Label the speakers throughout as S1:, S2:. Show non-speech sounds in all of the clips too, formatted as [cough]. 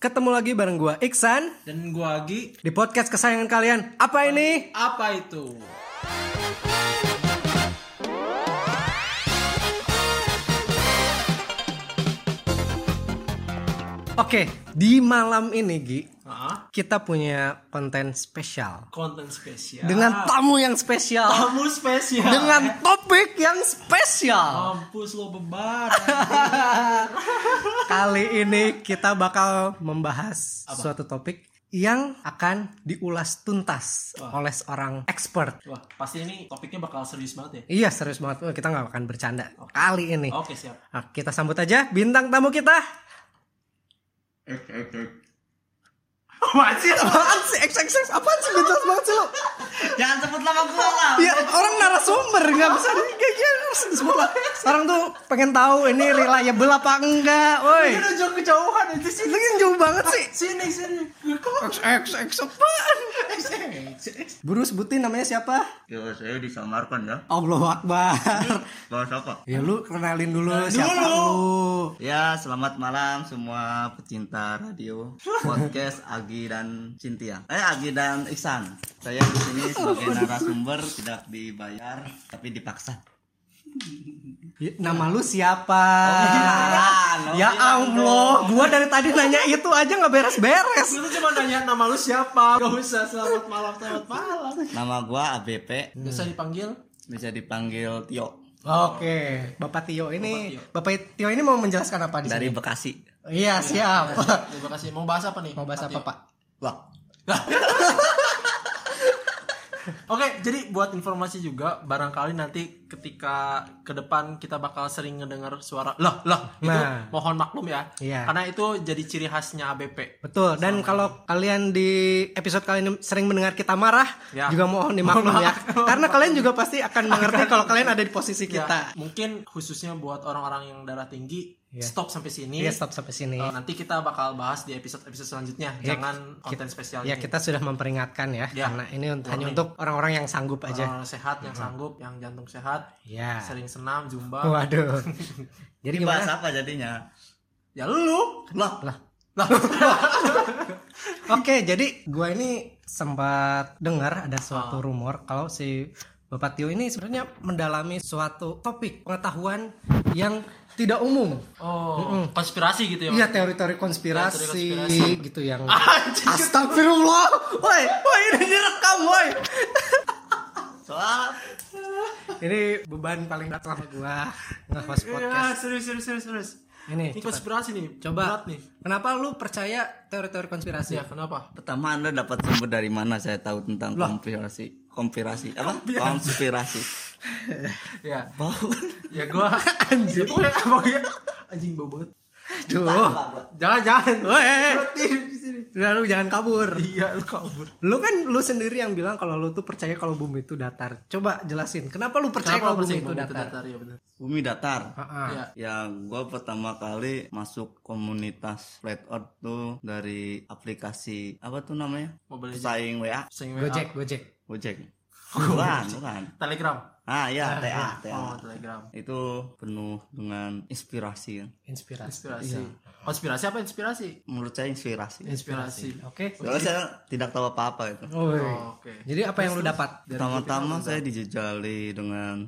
S1: Ketemu lagi bareng gua Iksan
S2: Dan gua Agi,
S1: di podcast kesayangan kalian. Apa ini?
S2: apa itu?
S1: Oke, di malam ini Gi,
S2: Ah,
S1: kita punya konten spesial
S2: konten spesial.
S1: dengan tamu yang spesial,
S2: tamu spesial.
S1: dengan topik yang spesial.
S2: Mampus lo beban.
S1: Kali ini kita bakal membahas suatu topik yang akan diulas tuntas oleh seorang expert.
S2: [laughs] Wah, pasti ini topiknya bakal serius banget
S1: Iya,
S2: ya.
S1: serius banget. Kita nggak akan bercanda kali ini.
S2: Oke, siap.
S1: Nah, kita sambut aja bintang tamu kita.
S2: Masih
S1: Apaan sih? X, X, X. Apaan sih? Gak jelas banget sih lo.
S2: Jangan sebut nama gua lah.
S1: Ya, orang narasumber nggak bisa di kayak gini, harus disebut lah. Sekarang tuh pengen tahu ini reliable apa enggak, woi.
S2: Ini jauh kejauhan itu sih.
S1: Itu kan jauh banget sih.
S2: Sini, sini. Eh.
S1: X, X, X apaan? Buru sebutin namanya siapa?
S3: Ya saya disamarkan ya.
S1: Allah Akbar. Nah,
S3: Bahas apa?
S1: Ya lu kenalin dulu siapa lu.
S3: Ya, selamat malam semua pecinta radio podcast Agi dan Cintia. Eh Agi dan Iksan. Saya di sini sebagai narasumber tidak dibayar tapi dipaksa.
S1: Ya, Nama lu siapa?
S3: Oh,
S1: ya
S3: bilang
S1: Allah, gua dari tadi nanya itu aja nggak beres-beres.
S2: Gue tuh cuma nanya nama lu siapa. Gak usah selamat malam, selamat malam.
S3: Nama gua ABP,
S2: Bisa dipanggil?
S3: bisa dipanggil Tio
S1: Oke, Bapak Tio ini Bapak Tio ini mau menjelaskan apa di sini?
S3: dari Bekasi.
S1: Iya, siap.
S2: Terima kasih. Mau bahas apa nih?
S1: Mau bahas
S2: Pak
S1: apa,
S2: Tio?
S1: Pak?
S3: Wah,
S2: Oke, jadi buat informasi juga, barangkali nanti ketika ke depan kita bakal sering ngedengar suara loh loh itu
S1: Nah.
S2: mohon maklum ya,
S1: Iya.
S2: karena itu jadi ciri khasnya ABP.
S1: Betul. Dan kalau kalian di episode kali ini sering mendengar kita marah,
S2: Ya.
S1: juga mohon dimaklum ya. Karena kalian juga pasti akan mengerti kalau kalian ada di posisi
S2: Ya,
S1: kita.
S2: mungkin khususnya buat orang-orang yang darah tinggi, stop sampai sini.
S1: Iya, stop sampai sini.
S2: Eh, nanti kita bakal bahas di episode-episode selanjutnya. Jangan konten spesial
S1: Ya, Iya,
S2: ini.
S1: kita sudah memperingatkan ya. Oh.
S2: Ya.
S1: Karena ini untuk- hanya untuk orang-orang yang sanggup aja. Iya.
S2: Orang sehat yang sanggup, yang jantung sehat,
S1: Ya.
S2: sering senam, zumba.
S1: Waduh. Jadi
S3: dibahas
S1: gimana?
S3: apa jadinya?
S2: Ya lu.
S3: Lah,
S1: [laughs] Oke, jadi gua ini sempat dengar ada
S2: Oh.
S1: suatu rumor kalau si Bapak Tio ini sebenarnya mendalami suatu topik pengetahuan yang tidak umum.
S2: Oh, konspirasi gitu ya. Mas? [laughs]
S1: Iya teori-teori konspirasi,
S2: Teori-teori konspirasi. Ah.
S1: gitu yang
S2: Anjing.
S1: Astagfirullah. Woi, woi ini direkam, woi.
S3: soal
S1: Ini beban paling berat sama gua nge-host
S2: Ya,
S1: podcast.
S2: serius, serius, serius, serius.
S1: Ini
S2: Ini konspirasi nih.
S1: coba.
S2: Berat nih.
S1: Kenapa lu percaya teori-teori konspirasi?
S2: Ya, kenapa?
S3: pertama Anda dapat sumber dari mana saya tahu tentang konspirasi? Konspirasi apa? Konspirasi.
S2: Ya.
S3: Bau.
S2: Ya gua [laughs] anjing. Ya, pokoknya, anjing bau banget.
S1: Duh.
S2: Jangan, jangan.
S1: Woi.
S2: Berhenti di sini.
S1: Oh, iya, Udah, lu jangan kabur.
S2: Iya, lu kabur.
S1: Lu kan lu sendiri yang bilang kalau lu tuh percaya kalau bumi itu datar. Coba jelasin, kenapa lu percaya
S2: Kenapa
S1: kalau bumi, itu datar?
S2: datar ya benar.
S3: Bumi datar.
S1: Ah, ah.
S2: Iya.
S3: Ya, gue pertama kali masuk komunitas Flat Earth tuh dari aplikasi apa tuh namanya?
S2: Mobile Legends. Oh,
S3: Pesaing WA,
S2: Sing
S1: Gojek, Gojek.
S3: Gojek. Bukan, bukan.
S2: Telegram.
S3: Ah ya, Iya. TA, TA.
S2: Oh, Telegram.
S3: Itu penuh dengan inspirasi.
S1: Inspirasi.
S2: Inspirasi. Konspirasi apa inspirasi?
S3: Menurut saya inspirasi.
S2: Inspirasi.
S1: Oke.
S3: Soalnya saya tidak tahu apa-apa itu.
S1: Oh, woi.
S2: Oh, Oke.
S1: Jadi apa yang lu dapat?
S3: Pertama-tama saya dijejali dengan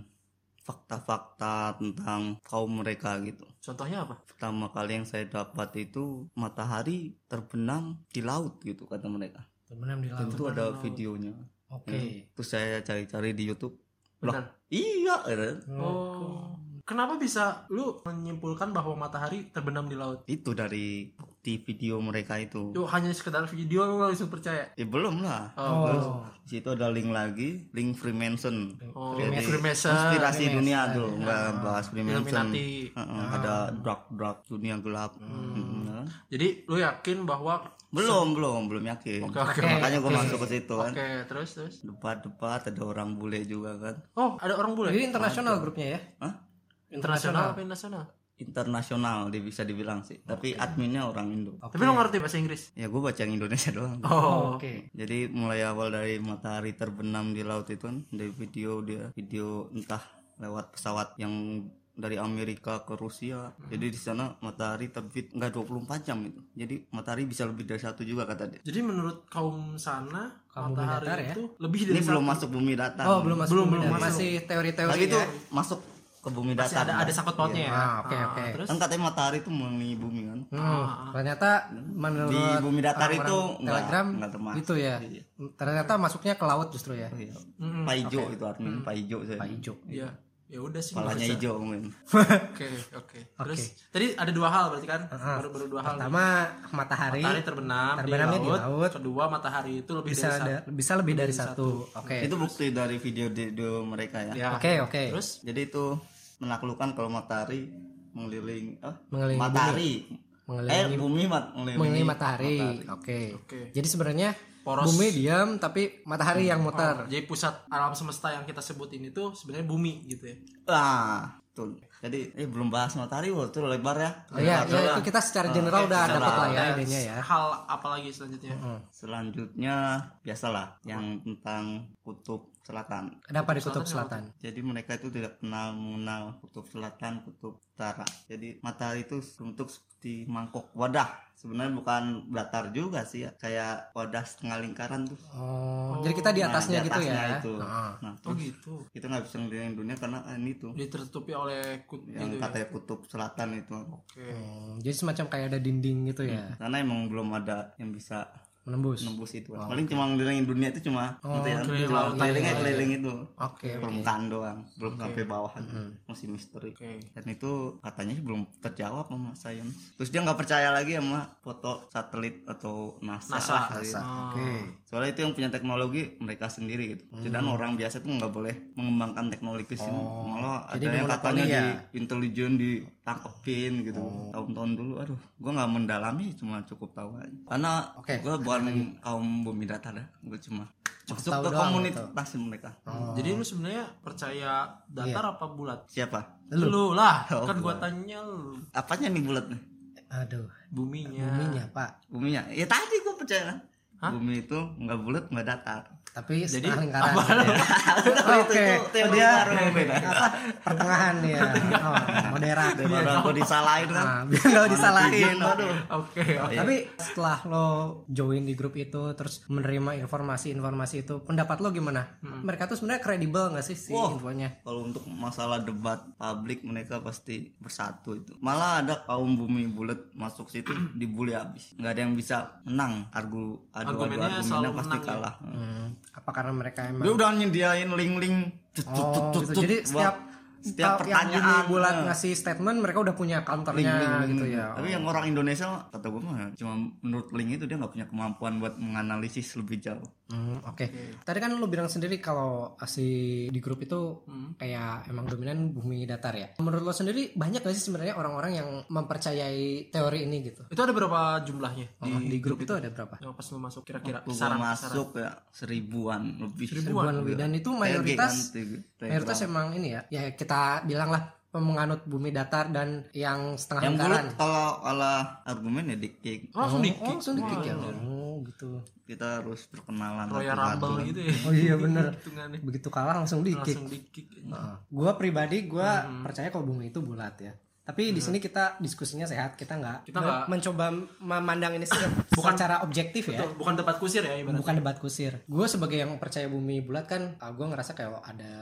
S3: fakta-fakta tentang kaum mereka gitu.
S2: Contohnya apa?
S3: Pertama kali yang saya dapat itu matahari terbenam di laut gitu kata mereka.
S1: Temennya di laut.
S3: Tentu ada videonya.
S1: Oke.
S3: Hmm. Terus saya cari-cari di YouTube.
S2: Benar.
S3: Iya, eh,
S2: Oh. Kenapa bisa lu menyimpulkan bahwa matahari terbenam di laut?
S3: itu dari bukti video mereka itu.
S2: Itu hanya sekedar video lu langsung percaya.
S3: Ya belum lah.
S2: Oh.
S3: Terus di situ ada link lagi, link Freemason.
S2: Oh,
S3: Jadi,
S2: Freemason. Ya.
S3: Konspirasi dunia tuh, nggak bahas Freemason.
S2: Illuminati. Ah.
S3: Heeh, Ada dark-dark dunia gelap.
S2: Hmm.
S3: Mm, ya.
S2: Jadi lu yakin bahwa
S3: Belum, belum, belum yakin.
S2: Oke, oke.
S3: Makanya gue masuk ke situ
S2: Oke,
S3: kan.
S2: terus terus.
S3: Debat-debat ada orang bule juga kan.
S2: Oh, ada orang bule.
S1: Jadi internasional grupnya ya?
S3: Hah?
S2: Internasional apa internasional?
S3: Internasional dia bisa dibilang sih. Tapi adminnya orang Indo.
S2: Tapi lu ngerti bahasa Inggris?
S3: Ya gue baca yang Indonesia [laughs] doang.
S2: Oh,
S1: Oke.
S3: Jadi mulai awal dari matahari terbenam di laut itu kan dari video dia video entah lewat pesawat yang dari Amerika ke Rusia. Jadi di sana matahari terbit nggak 24 jam itu. Jadi matahari bisa lebih dari satu juga kata dia.
S2: Jadi menurut kaum sana
S1: Kaum bumi datar
S2: matahari
S1: ya?
S2: itu lebih dari
S3: Ini belum
S2: satu.
S3: masuk bumi datar.
S1: Oh, belum masuk.
S2: Belum,
S1: bumi
S2: belum
S1: datar.
S2: masuk.
S1: Masih teori-teori
S3: Lagi
S1: ya.
S3: itu masuk ke bumi
S2: Masih
S3: datar.
S2: ada ada sangkut pautnya ya.
S1: Ah, oke, oke.
S2: Terus
S3: Kan katanya matahari itu murni bumi kan.
S1: Hmm, ternyata menurut
S3: Di bumi datar
S1: orang-orang
S3: itu nggak-
S1: telegram
S3: nggak termasuk.
S1: itu ya. Ternyata masuknya ke laut justru ya.
S3: Iya.
S2: Mm,
S3: Pak hijau itu artinya Pak hijau saya.
S1: Pak Ijo.
S2: ya ya udah sih.
S3: Kepalanya
S2: nggak usah.
S3: hijau mungkin.
S2: Oke oke. Terus tadi ada dua hal berarti kan? Baru baru dua hal.
S1: Ah, Pertama matahari,
S2: Matahari terbenam,
S1: terbenamnya
S2: di,
S1: di
S2: laut.
S1: laut.
S2: Kedua matahari itu lebih
S1: bisa
S2: dari satu.
S1: ada- bisa lebih dari satu. Oke.
S3: Itu bukti dari video-video mereka ya.
S2: Ya.
S1: Oke, oke.
S2: Terus
S3: Jadi itu menaklukkan kalau matahari mengeliling eh
S1: Mengelilingi
S3: matahari.
S1: Mengelilingi-
S3: eh bumi mat mengelilingi.
S1: Mengelilingi matahari. Oke.
S2: Oke.
S1: Jadi sebenarnya
S2: Poros.
S1: bumi diam tapi matahari yang muter.
S2: jadi pusat alam semesta yang kita sebutin itu sebenarnya bumi gitu ya.
S3: Ah, betul. Jadi eh belum bahas matahari wah itu lebar ya.
S1: Iya, ya, itu kita secara general udah
S3: secara-
S1: dapat lah ya
S2: Dan
S1: idenya ya.
S2: Hal apa lagi selanjutnya?
S3: Selanjutnya biasalah yang tentang kutub selatan.
S1: Kenapa di kutub selatan?
S3: Jadi mereka itu tidak kenal mengenal kutub selatan, kutub utara. Jadi matahari itu bentuk seperti mangkok wadah. Sebenarnya bukan datar juga sih ya, kayak wadah setengah lingkaran tuh.
S1: Oh, jadi kita di
S3: Nah,
S1: atasnya,
S3: di
S1: gitu ya.
S3: atasnya itu.
S1: Heeh.
S3: Nah,
S2: Oh
S3: terus
S2: gitu.
S3: kita nggak bisa ngeliatin dunia karena ah, ini tuh
S2: Ditertupi oleh kut
S3: yang
S2: gitu ya.
S3: katanya kutub selatan itu.
S2: Oke.
S1: Hmm, jadi semacam kayak ada dinding gitu ya,
S3: Karena emang belum ada yang bisa
S1: menembus. Oke,
S3: nembus itu. Paling cuma ngelilingin dunia itu cuma gitu
S2: Oh,
S3: ya,
S2: keliling
S3: cuma
S2: laut,
S3: kelilingnya
S2: iya, iya.
S3: keliling itu.
S1: oke.
S3: Permukaan doang, belum sampai bawah masih misteri.
S2: Oke.
S3: dan itu katanya sih belum terjawab sama Mas Sayun terus dia nggak percaya lagi sama foto satelit atau NASA,
S2: NASA.
S3: lah kali ya. soalnya itu yang punya teknologi mereka sendiri gitu
S1: Hmm.
S3: sedangkan orang biasa tuh nggak boleh mengembangkan teknologi ke sini malah
S1: Oh. Jadi
S3: ada yang
S1: monopoli
S3: katanya
S1: ya? Oh.
S3: di intelijen ditangkepin gitu tahun-tahun dulu aduh gue nggak mendalami cuma cukup tahu aja karena
S1: Oke.
S3: gue bukan kaum bumi datar ya gue cuma masuk
S1: tahu
S3: ke
S1: doang
S3: komunitas mereka
S1: Oh.
S2: Jadi lu sebenarnya percaya datar
S1: Iya.
S2: apa bulat?
S3: siapa
S2: Lu,
S1: [laughs]
S2: lah,
S3: Oh,
S2: kan gua
S3: gua.
S2: tanya lu
S3: apanya nih bulat nih
S1: Aduh,
S2: buminya.
S1: buminya Pak.
S3: buminya ya tadi gue percaya kan bumi itu nggak bulat nggak datar
S1: Tapi ya.
S2: Jadi
S1: setengah lingkaran.
S2: apa?
S3: [laughs]
S1: Oke,
S3: teori baru yang beda
S1: pertengahan ya. Oh, moderat.
S3: daripada aku disalahin kan
S1: Nah, biar nggak disalahin.
S3: Izin, aduh
S2: Oke.
S3: Iya.
S2: oke.
S1: Tapi setelah lo join di grup itu terus menerima informasi-informasi itu, pendapat lo gimana?
S3: Hmm.
S1: Mereka tuh sebenarnya kredibel nggak sih si
S3: Wah.
S1: infonya?
S3: kalau untuk masalah debat publik mereka pasti bersatu itu malah ada kaum bumi bulat masuk situ [clears throat] dibully habis nggak ada yang bisa menang argu adu adu
S2: Argumennya selalu
S3: argumennya pasti
S2: menang, ya?
S3: kalah
S1: Hmm, apa karena mereka emang
S3: dia udah nyediain link-link tut, tut, tut,
S1: Oh,
S3: tut,
S1: gitu.
S3: tut,
S1: Jadi
S3: buat
S1: setiap
S3: setiap
S1: yang ini
S3: pertanyaan
S1: bulat
S3: eh.
S1: ngasih statement mereka udah punya counternya
S3: link, link, link,
S1: gitu
S3: link.
S1: ya.
S3: Tapi yang orang Indonesia kata gue mah cuma menurut link itu dia nggak punya kemampuan buat menganalisis lebih jauh.
S1: Hmm, Oke. Tadi kan lu bilang sendiri kalau si di grup itu kayak emang dominan bumi datar ya. Menurut lo sendiri banyak gak sih sebenarnya orang-orang yang mempercayai teori ini gitu?
S2: Itu ada berapa jumlahnya
S1: Di,
S2: di
S1: Oh, di grup itu ada berapa?
S2: yang pas lu masuk kira-kira
S3: Gue
S2: kisaran kisaran.
S3: masuk ya seribuan lebih.
S1: Ribuan lebih dan itu mayoritas
S3: Kayak gigante, gitu. kayak
S1: mayoritas emang ini ya. Ya kita bilang lah penganut bumi datar dan yang
S3: berapa.
S1: setengah
S3: yang bulat
S1: lingkaran.
S3: kalau kalah argumen ya di kick.
S2: Oh, langsung di
S1: Oh, langsung dikik ya. Oh, gitu.
S3: Kita harus perkenalan
S2: Royal
S3: satu-satu.
S2: Rumble gitu ya.
S1: Oh iya, bener.
S2: Hitungannya
S1: Begitu kalah langsung dikik. Oh,
S2: langsung di-kick.
S1: Gue pribadi gue
S2: Mm-hmm.
S1: percaya kalau bumi itu bulat ya. Tapi di sini kita diskusinya sehat, kita nggak
S2: Kita nggak-
S1: mencoba memandang ini
S2: [coughs]
S1: secara, secara objektif ya.
S2: Tuh, Bukan tempat kusir ya ibaratnya.
S1: Bukan debat kusir. Gue sebagai yang percaya bumi bulat kan, gue ngerasa kayak ada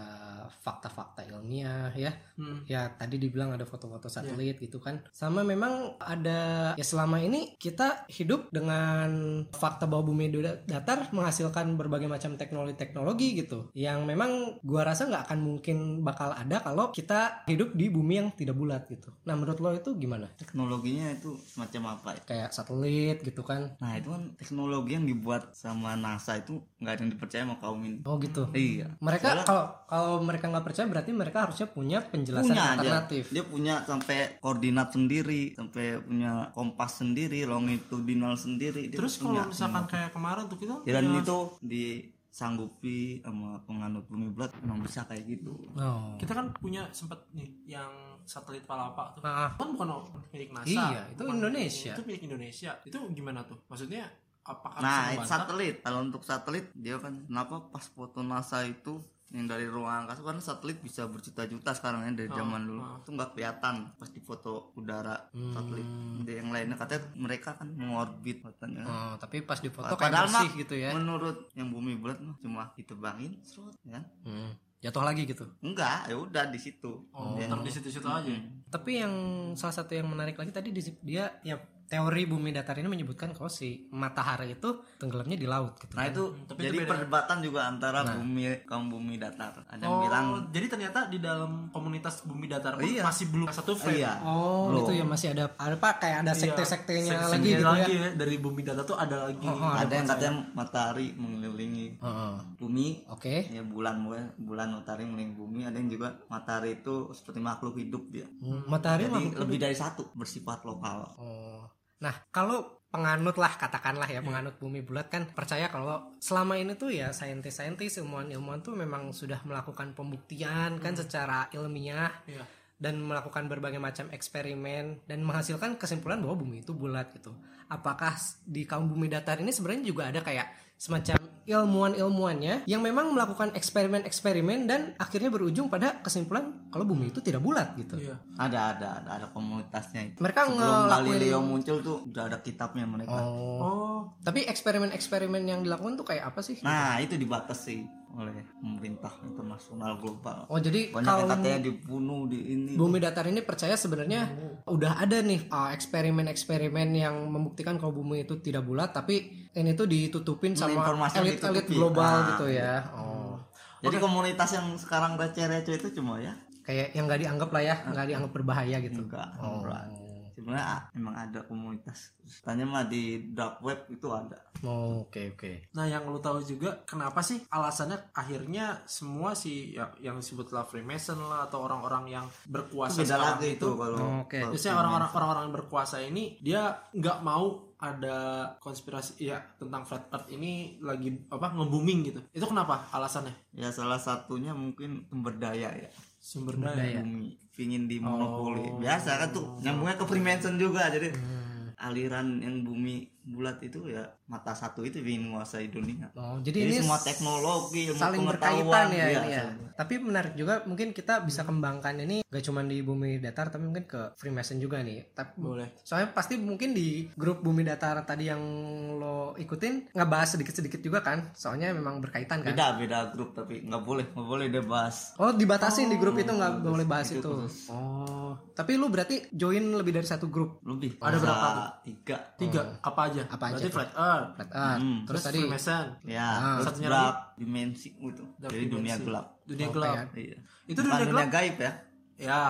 S1: fakta-fakta ilmiah ya.
S2: Hmm.
S1: Ya tadi dibilang ada
S3: Ya.
S1: foto-foto satelit gitu kan. Sama memang ada ya selama ini kita hidup dengan fakta bahwa bumi du- datar menghasilkan berbagai macam teknologi-teknologi gitu. Yang memang gue rasa nggak akan mungkin bakal ada kalau kita hidup di bumi yang tidak bulat gitu. Nah menurut lo itu gimana?
S3: Teknologinya itu macam apa ya?
S1: Kayak satelit gitu kan?
S3: Nah itu kan teknologi yang dibuat sama NASA itu nggak ada yang dipercaya sama kaum ini.
S1: Oh gitu.
S3: Iya.
S1: mereka kalau kalau mereka nggak percaya berarti mereka harusnya punya penjelasan
S3: punya aja. Iya.
S1: alternatif
S3: Dia punya sampai koordinat sendiri, sampai punya kompas sendiri, longitudinal sendiri. Dia
S2: Terus
S3: punya
S1: Iya,
S3: Ya,
S2: kalau misalkan kayak kemarin tuh kita
S3: dan itu disanggupi sama penganut bumi bulat emang bisa kayak gitu.
S1: oh
S2: kita kan punya sempat nih yang satelit Palapa tuh.
S1: Ah.
S2: Kan bukan milik NASA.
S1: Iya, itu
S2: Bukan-
S1: Indonesia.
S2: Itu milik Indonesia. Itu gimana tuh? Maksudnya apakah
S3: Nah,
S2: bisa membantah?
S3: satelit. Kalau untuk satelit dia kan kenapa pas foto NASA itu yang dari ruang angkasa kan satelit bisa berjuta-juta sekarang ya dari
S2: Oh,
S3: zaman dulu itu nggak kelihatan pas di foto udara satelit
S2: Hmm.
S3: Jadi yang lainnya katanya mereka kan mengorbit katanya
S1: Oh, tapi pas difoto
S3: Nah, Padahal
S1: kayak
S3: mah
S1: bersih gitu ya.
S3: menurut yang bumi bulat mah cuma ditebangin serut ya kan?
S1: Hmm, Jatuh lagi gitu.
S3: enggak ya udah di situ
S2: Oh, taruh di situ-situ aja.
S1: Tapi yang salah satu yang menarik lagi tadi di- dia ya teori bumi datar ini menyebutkan kalau si matahari itu tenggelamnya di laut gitu.
S3: nah itu
S2: tapi
S3: jadi
S2: itu beda.
S3: perdebatan juga antara
S1: Nah.
S3: bumi kaum bumi datar ada yang bilang
S2: Oh, jadi ternyata di dalam komunitas bumi datar pun
S3: Iya.
S2: masih belum satu
S3: oh,
S2: frame.
S3: iya
S1: Oh, itu ya masih ada apa kayak ada sekte-sektenya
S2: Sek-
S1: lagi
S2: sekte
S1: gitu ya. Oh,
S2: lagi ya. Dari bumi datar tuh ada lagi.
S3: ada yang katanya matahari mengelilingi
S1: Heeh.
S3: bumi
S1: Oke.
S3: ya bulan bulan- bulan matahari mengelilingi bumi ada yang juga matahari itu seperti makhluk hidup dia
S1: Matahari
S3: jadi
S1: makhluk
S3: lebih dari satu bersifat lokal
S1: Oh. Nah, kalau penganut lah katakanlah ya penganut bumi bulat kan percaya kalau selama ini tuh ya saintis-saintis ilmuwan-ilmuwan tuh memang sudah melakukan pembuktian kan secara ilmiah
S2: Iya.
S1: dan melakukan berbagai macam eksperimen dan menghasilkan kesimpulan bahwa bumi itu bulat gitu. Apakah s- di kaum bumi datar ini sebenarnya juga ada kayak semacam ilmuwan-ilmuwannya yang memang melakukan eksperimen-eksperimen dan akhirnya berujung pada kesimpulan kalau bumi itu tidak bulat gitu.
S2: Iya.
S3: ada ada ada, ada komunitasnya itu.
S1: Mereka
S3: sebelum
S1: ngelakuin-
S3: Galileo muncul tuh udah ada kitabnya mereka
S1: Oh.
S2: Oh,
S1: Tapi eksperimen-eksperimen yang dilakukan tuh kayak apa sih?
S3: Nah, itu dibatasi oleh pemerintah internasional global.
S1: Oh jadi
S3: Banyak
S1: kalau
S3: yang katanya dibunuh di ini.
S1: bumi datar ini percaya sebenarnya udah ada nih uh, eksperimen-eksperimen yang membuktikan kalau bumi itu tidak bulat, tapi ini tuh ditutupin sama
S3: Informasi yang
S1: elit-elit
S3: ditutupi.
S1: global
S3: Ah,
S1: gitu ya. Oh.
S3: Jadi komunitas yang sekarang receh-receh itu cuma ya
S1: Kayak yang nggak dianggap
S3: Ah.
S1: lah ya, nggak dianggap berbahaya gitu.
S3: enggak.
S1: Oh.
S3: Sebenarnya ah, emang ada komunitas. Tanya mah di dark web itu ada.
S1: Oh, Oke oke.
S2: Nah, yang lu tahu juga kenapa sih alasannya akhirnya semua si ya, yang disebutlah Freemason lah atau orang-orang yang berkuasa
S3: Itu beda
S2: sekarang
S3: lagi itu kalau
S1: Oh, Oke.
S3: kalau
S2: Biasanya orang-orang orang-orang yang berkuasa ini dia nggak mau ada konspirasi ya tentang flat earth ini lagi apa nge-booming gitu. Itu kenapa alasannya?
S3: ya salah satunya mungkin sumber daya ya.
S2: Sumber daya.
S1: Iya.
S3: Bumi pingin dimonopoli.
S1: Oh.
S3: Biasa kan tuh nyambungnya ke Freemason juga. Jadi
S1: Hmm.
S3: aliran yang bumi bulat itu ya mata satu itu pingin menguasai dunia.
S1: Oh, jadi,
S3: Jadi
S1: ini
S3: semua teknologi ilmu
S1: saling
S3: pengetahuan,
S1: berkaitan ya,
S3: iya,
S1: ini ya.
S3: saling-
S1: Tapi menarik juga mungkin kita bisa kembangkan ini gak cuma di bumi datar tapi mungkin ke Freemason juga nih. Tapi
S2: Boleh.
S1: Soalnya pasti mungkin di grup Bumi Datar tadi yang lo ikutin ngebahas sedikit-sedikit juga kan? Soalnya memang berkaitan kan?
S3: beda beda grup tapi nggak boleh nggak boleh dia bahas
S1: Oh dibatasin di grup itu nggak boleh bahas itu.
S3: itu
S1: Oh, tapi lu berarti join lebih dari satu grup.
S3: lebih
S2: Ada
S3: Masa
S2: berapa
S3: tiga
S2: Tiga, apa aja?
S1: Apa aja
S2: Berarti
S1: tuh?
S2: flat earth.
S1: Flat Earth.
S3: Hmm.
S1: Ah, Terus tadi
S2: Freemason.
S3: ya terus
S2: Ah, Satunya
S3: dark dimensi itu
S2: Dark
S3: jadi dunia
S2: dimensi.
S3: gelap
S2: Dunia gelap.
S1: kayak-
S3: iya
S2: Itu
S3: Bukan
S2: dunia gelap.
S3: gaib ya
S2: Ya,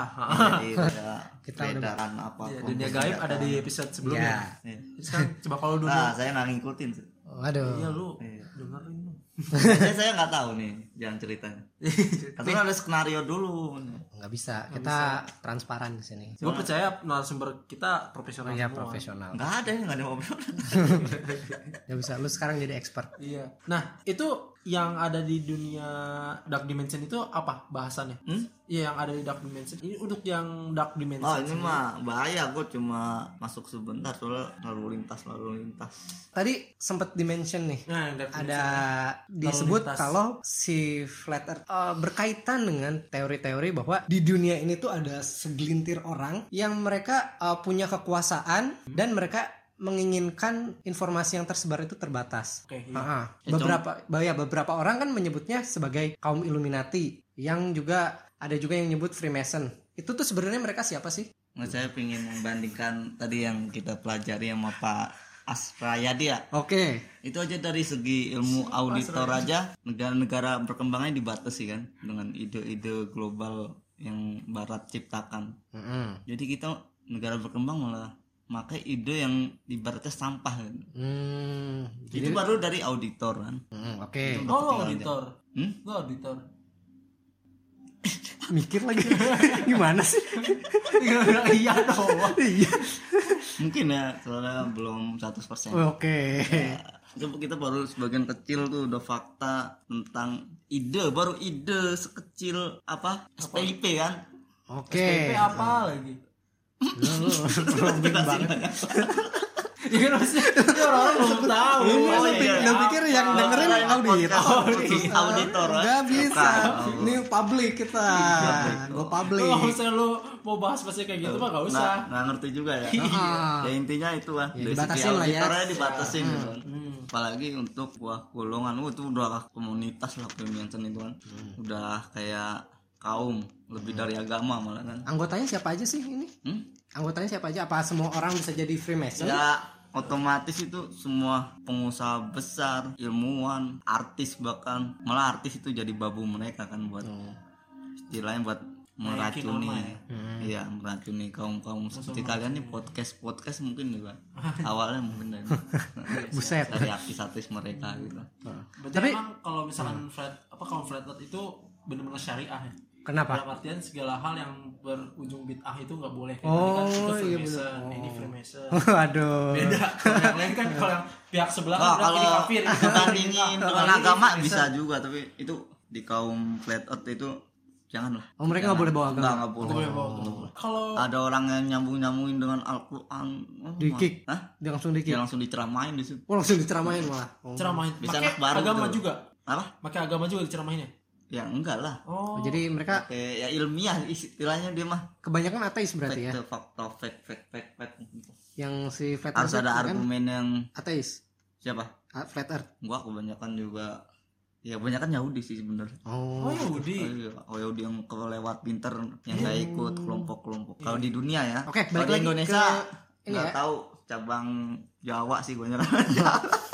S3: jadi ada
S1: [laughs] Kita udah-
S3: peredaran Iya. apa
S1: Oh,
S2: ya, dunia
S1: iya,
S2: gaib ada di episode sebelumnya.
S1: Ya.
S2: Sekarang coba kalau
S1: [laughs]
S2: dulu
S3: nah saya nggak ngikutin
S2: [laughs]
S3: sih.
S1: Waduh.
S2: ya lu
S1: Iya.
S2: dengerin lu.
S3: Biasanya saya nggak tahu nih jangan
S2: [laughs]
S3: ceritanya tapi ada skenario dulu
S1: Nggak bisa. Kita transparan di sini.
S2: Gue percaya narasumber kita profesional
S1: Ya
S2: semua.
S1: profesional.
S3: nggak ada nggak ada obrolan
S2: [laughs]
S1: Nggak bisa. Lu sekarang jadi expert.
S2: Iya. Nah, itu yang ada di dunia Dark Dimension itu apa bahasannya?
S1: Hmm?
S2: Iya, yang ada di Dark Dimension. Ini untuk yang Dark Dimension.
S3: Oh ini mah bahaya gue cuma masuk sebentar soalnya lalu lintas lalu lintas
S1: Tadi sempet dimention nih.
S2: Nah, yang Dark
S1: ada
S2: Dimension.
S1: disebut
S2: lintas.
S1: kalau si flat earth uh, berkaitan dengan teori-teori bahwa di dunia ini tuh ada segelintir orang yang mereka uh, punya kekuasaan dan mereka menginginkan informasi yang tersebar itu terbatas.
S2: Oke, iya.
S1: Ah, ah.
S3: Ya,
S1: beberapa bah- ya beberapa orang kan menyebutnya sebagai kaum Illuminati yang juga ada juga yang nyebut Freemason. Itu tuh sebenarnya mereka siapa sih?
S3: Nah, saya ingin membandingkan tadi yang kita pelajari sama Pak Asrayadi ya.
S1: Oke.
S3: Itu aja dari segi ilmu auditor aja, negara-negara berkembangnya dibatasi kan dengan ide-ide global yang barat ciptakan.
S1: Mm-mm.
S3: Jadi kita negara berkembang malah pakai ide yang ibaratnya sampah kan.
S1: Hmm.
S3: Itu baru dari auditor kan.
S1: Mm, Oke.
S2: Oh, lo auditor.
S3: [laughs] Hmm?
S2: Lo auditor.
S1: Mikir lagi. [laughs] Gimana sih?
S2: Iya, bilang iya doang.
S1: Iya.
S3: Mungkin ya soalnya belum 100%.
S1: Oke.
S3: Coba kita baru sebagian kecil tuh udah fakta tentang ide baru ide sekecil apa SPIP kan
S1: Oke.
S2: Tapi apa lagi?
S1: Robin banget.
S2: Ya kan maksudnya ini orang-orang belum tahu.
S1: Ini lu
S2: iya,
S1: pikir, lu
S2: apa?
S1: pikir yang dengerin
S3: Apa?
S1: nggak audit.
S3: podcast khusus auditor.
S4: Gak bisa.
S3: Bukan.
S4: Ini publik kita. Gue publik.
S2: Kalau misalnya Oh, lu mau bahas pasti kayak gitu
S1: Nah,
S2: mah gak usah.
S3: Nggak- nggak ngerti juga ya.
S4: Ah.
S3: ya intinya itu lah.
S4: Ya,
S3: Dari segi
S4: dibatasin lah ya. Hmm.
S3: auditornya dibatasin gitu kan. Apalagi untuk buah golongan lu itu udah komunitas lah pemimpin itu kan.
S4: Hmm.
S3: Udah kayak kaum lebih dari agama malah kan.
S1: Anggotanya siapa aja sih ini?
S3: Hmm?
S1: Anggotanya siapa aja? Apa semua orang bisa jadi Freemason?
S3: Ya otomatis itu semua pengusaha besar, ilmuwan, artis bahkan malah artis itu jadi babu mereka kan buat istilahnya buat meracuni
S1: ya? Hmm.
S3: iya meracuni kaum kaum seperti kalian nih podcast podcast mungkin
S1: [laughs]
S3: juga awalnya mungkin dari
S1: Buset.
S3: dari artis artis mereka gitu
S2: Berarti
S1: Tapi-
S2: emang kalau misalkan
S1: Hmm.
S2: flat apa kalau flat earth itu benar-benar syariah ya.
S1: Kenapa?
S2: Dalam artian segala hal yang berujung bid'ah itu nggak boleh. Kayak
S1: Oh,
S2: tadi kan itu
S1: iya Oh.
S2: Freemason, ini Freemason.
S1: Waduh.
S2: Beda. Kalau yang lain kan kalau yang pihak sebelah kan
S3: Nah,
S2: bilang ini
S3: kalau
S2: kafir, ini
S3: tandingin
S2: bid'ah.
S3: dengan agama
S2: nah,
S3: bisa juga tapi itu di kaum flat earth itu janganlah
S1: Oh, mereka nggak boleh bawa agama?
S3: Nggak, nggak boleh.
S2: Boleh, boleh, boleh. nah, Kalau
S3: ada orang yang nyambung nyambungin dengan Al-Quran Oh,
S1: Di
S3: ma-
S1: kick.
S3: Hah?
S1: Dia langsung di
S3: dia langsung diceramain di situ
S1: Oh, langsung diceramain malah. Oh.
S2: ceramahin
S3: Bisa
S2: pakai
S3: anak baru
S2: agama
S3: tuh.
S2: juga.
S3: apa
S2: Pakai agama juga diceramahinnya.
S3: ya enggak lah
S2: Oh.
S1: Jadi mereka
S3: Kayak ya ilmiah istilahnya dia mah
S1: kebanyakan ateis berarti ya.
S3: fakta fakta fact fact fact fact
S1: Yang si Flat
S3: harus
S1: Earth
S3: ada
S1: kan
S3: argumen yang
S1: ateis.
S3: siapa
S1: A- Flat Earth.
S3: gua kebanyakan juga ya kebanyakan Yahudi sih sebenarnya
S1: Oh.
S2: Oh Yahudi.
S3: oh Yahudi yang kelewat pinter yang nggak ikut kelompok-kelompok kalau di dunia ya
S1: Iya. Oke,
S3: kalau
S1: balik
S3: di
S1: lagi
S3: Indonesia
S1: ke ini
S3: nggak
S1: ya.
S3: tahu cabang Jawa sih gue nyerah [laughs]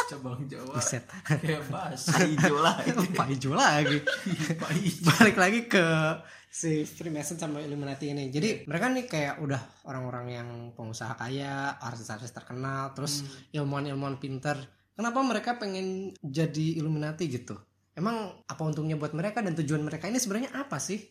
S2: Cabang Jawa.
S1: Buset.
S2: Kayak bahas.
S3: hijau lah itu
S1: Pak Ijo lagi. Balik lagi ke si Freemason sama Illuminati ini. Jadi mereka nih kayak udah orang-orang yang pengusaha kaya, artis-artis terkenal, terus
S3: Hmm.
S1: ilmuwan-ilmuwan pinter. Kenapa mereka pengen jadi Illuminati gitu? Emang apa untungnya buat mereka dan tujuan mereka ini sebenarnya apa sih?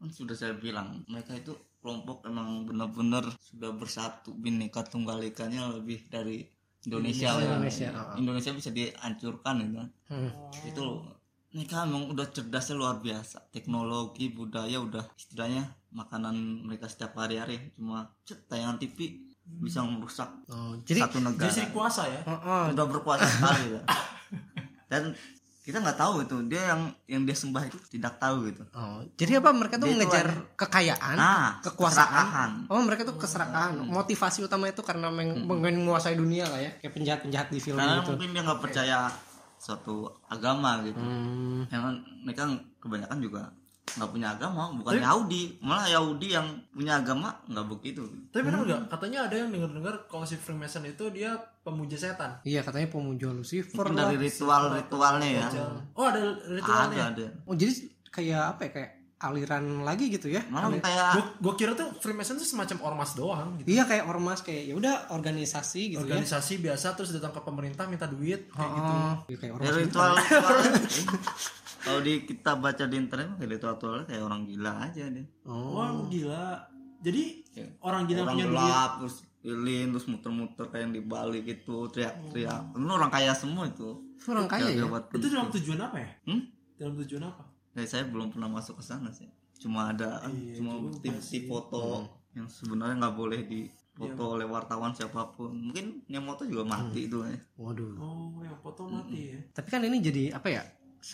S3: Kan sudah saya bilang mereka itu kelompok emang benar-benar sudah bersatu bineka tunggal ikanya lebih dari Indonesia ya.
S1: Indonesia, uh-uh.
S3: Indonesia bisa dihancurkan gitu kan.
S1: Hmm.
S3: [laughs] itu mereka emang udah cerdasnya luar biasa teknologi budaya udah istilahnya makanan mereka setiap hari-hari cuma cet, tayangan TV bisa merusak
S1: Oh, Hmm. jadi
S3: satu negara
S2: Jadi seri kuasa ya.
S1: Oh, oh.
S3: udah berkuasa sekali ya. dan kita nggak tahu itu dia yang yang dia sembah itu tidak tahu gitu
S1: Oh, jadi apa mereka tuh
S3: Dia itu
S1: mengejar
S3: ada-
S1: kekayaan,
S3: Nah, keserakahan. Hmm.
S1: kekuasaan. Oh, mereka tuh keserakahan. Motivasi utama itu karena meng- pengen menguasai dunia lah ya, kayak penjahat-penjahat di film
S3: karena
S1: gitu.
S3: mungkin dia nggak percaya suatu agama gitu
S1: Hmm.
S3: Emang mereka kebanyakan juga nggak punya agama bukan Yahudi malah Yahudi yang punya agama nggak begitu
S2: Tapi
S3: Hmm.
S2: benar nggak? Katanya ada yang dengar-dengar kalau si Freemason itu dia pemuja setan.
S1: Iya, katanya pemuja Lucifer
S3: Mungkin
S1: lah.
S3: dari ritual ritualnya ya
S2: Oh ada
S3: ada
S2: ritualnya.
S3: ada
S1: Oh, jadi kayak apa ya? Kayak aliran lagi gitu ya.
S3: malah kayak
S2: Gue gua kira tuh Freemason tuh semacam ormas doang gitu.
S1: Iya, kayak ormas kayak ya udah organisasi gitu ya.
S2: Organisasi biasa terus datang ke pemerintah minta duit kayak gitu.
S1: Oh, iya, kayak
S3: ya
S1: ormas. gitu.
S2: [laughs]
S3: ritual ritualnya eh, kalau di kita baca di internet mah kayak ritual ritualnya kayak orang gila aja dia
S1: Oh.
S2: Wah gila. Jadi
S3: Ya.
S2: orang gila
S3: orang
S2: punya duit.
S3: gelap terus lilin terus muter-muter kayak yang di Bali gitu teriak-teriak Ini orang kaya semua itu
S1: Orang kaya ya.
S3: Jaga buat-
S2: Itu dalam tujuan apa ya?
S3: Hmm?
S2: Dalam tujuan apa?
S3: Ya, saya belum pernah masuk ke sana sih. Cuma ada
S2: Iya,
S3: cuma
S2: juga
S3: bukti bukti
S2: sih. Iya.
S3: foto
S1: Hmm.
S3: yang sebenarnya nggak boleh di foto oleh wartawan siapapun. Mungkin yang foto juga
S1: Hmm.
S3: mati itu ya.
S1: Waduh.
S2: Oh, yang foto mati ya.
S1: Tapi kan ini jadi apa ya?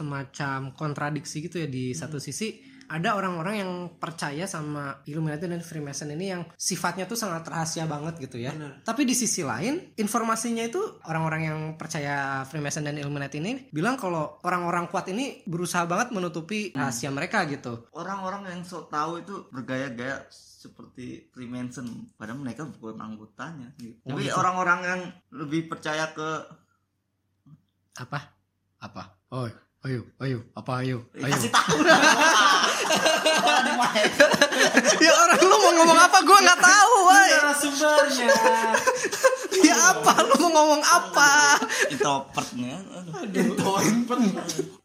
S1: Semacam kontradiksi gitu ya di satu sisi ada orang-orang yang percaya sama Illuminati dan Freemason ini yang sifatnya tuh sangat rahasia banget gitu ya.
S2: Benar.
S1: Tapi di sisi lain, informasinya itu orang-orang yang percaya Freemason dan Illuminati ini bilang kalau orang-orang kuat ini berusaha banget menutupi rahasia mereka gitu.
S3: Orang-orang yang so tahu itu bergaya-gaya seperti Freemason, padahal mereka bukan anggotanya. gitu.
S1: Oh,
S3: Tapi
S1: gitu.
S3: orang-orang yang lebih percaya ke
S1: Apa? Apa? Oi, ayo, ayo, apa ayo? Ayo.
S3: kasih tahu.
S1: [laughs]
S3: [laughs]
S1: ya orang lu mau ngomong apa gua nggak tahu, woy. [laughs]
S2: Narasumbernya.
S1: Ya apa? Lu mau ngomong apa?
S3: introvertnya. Aduh.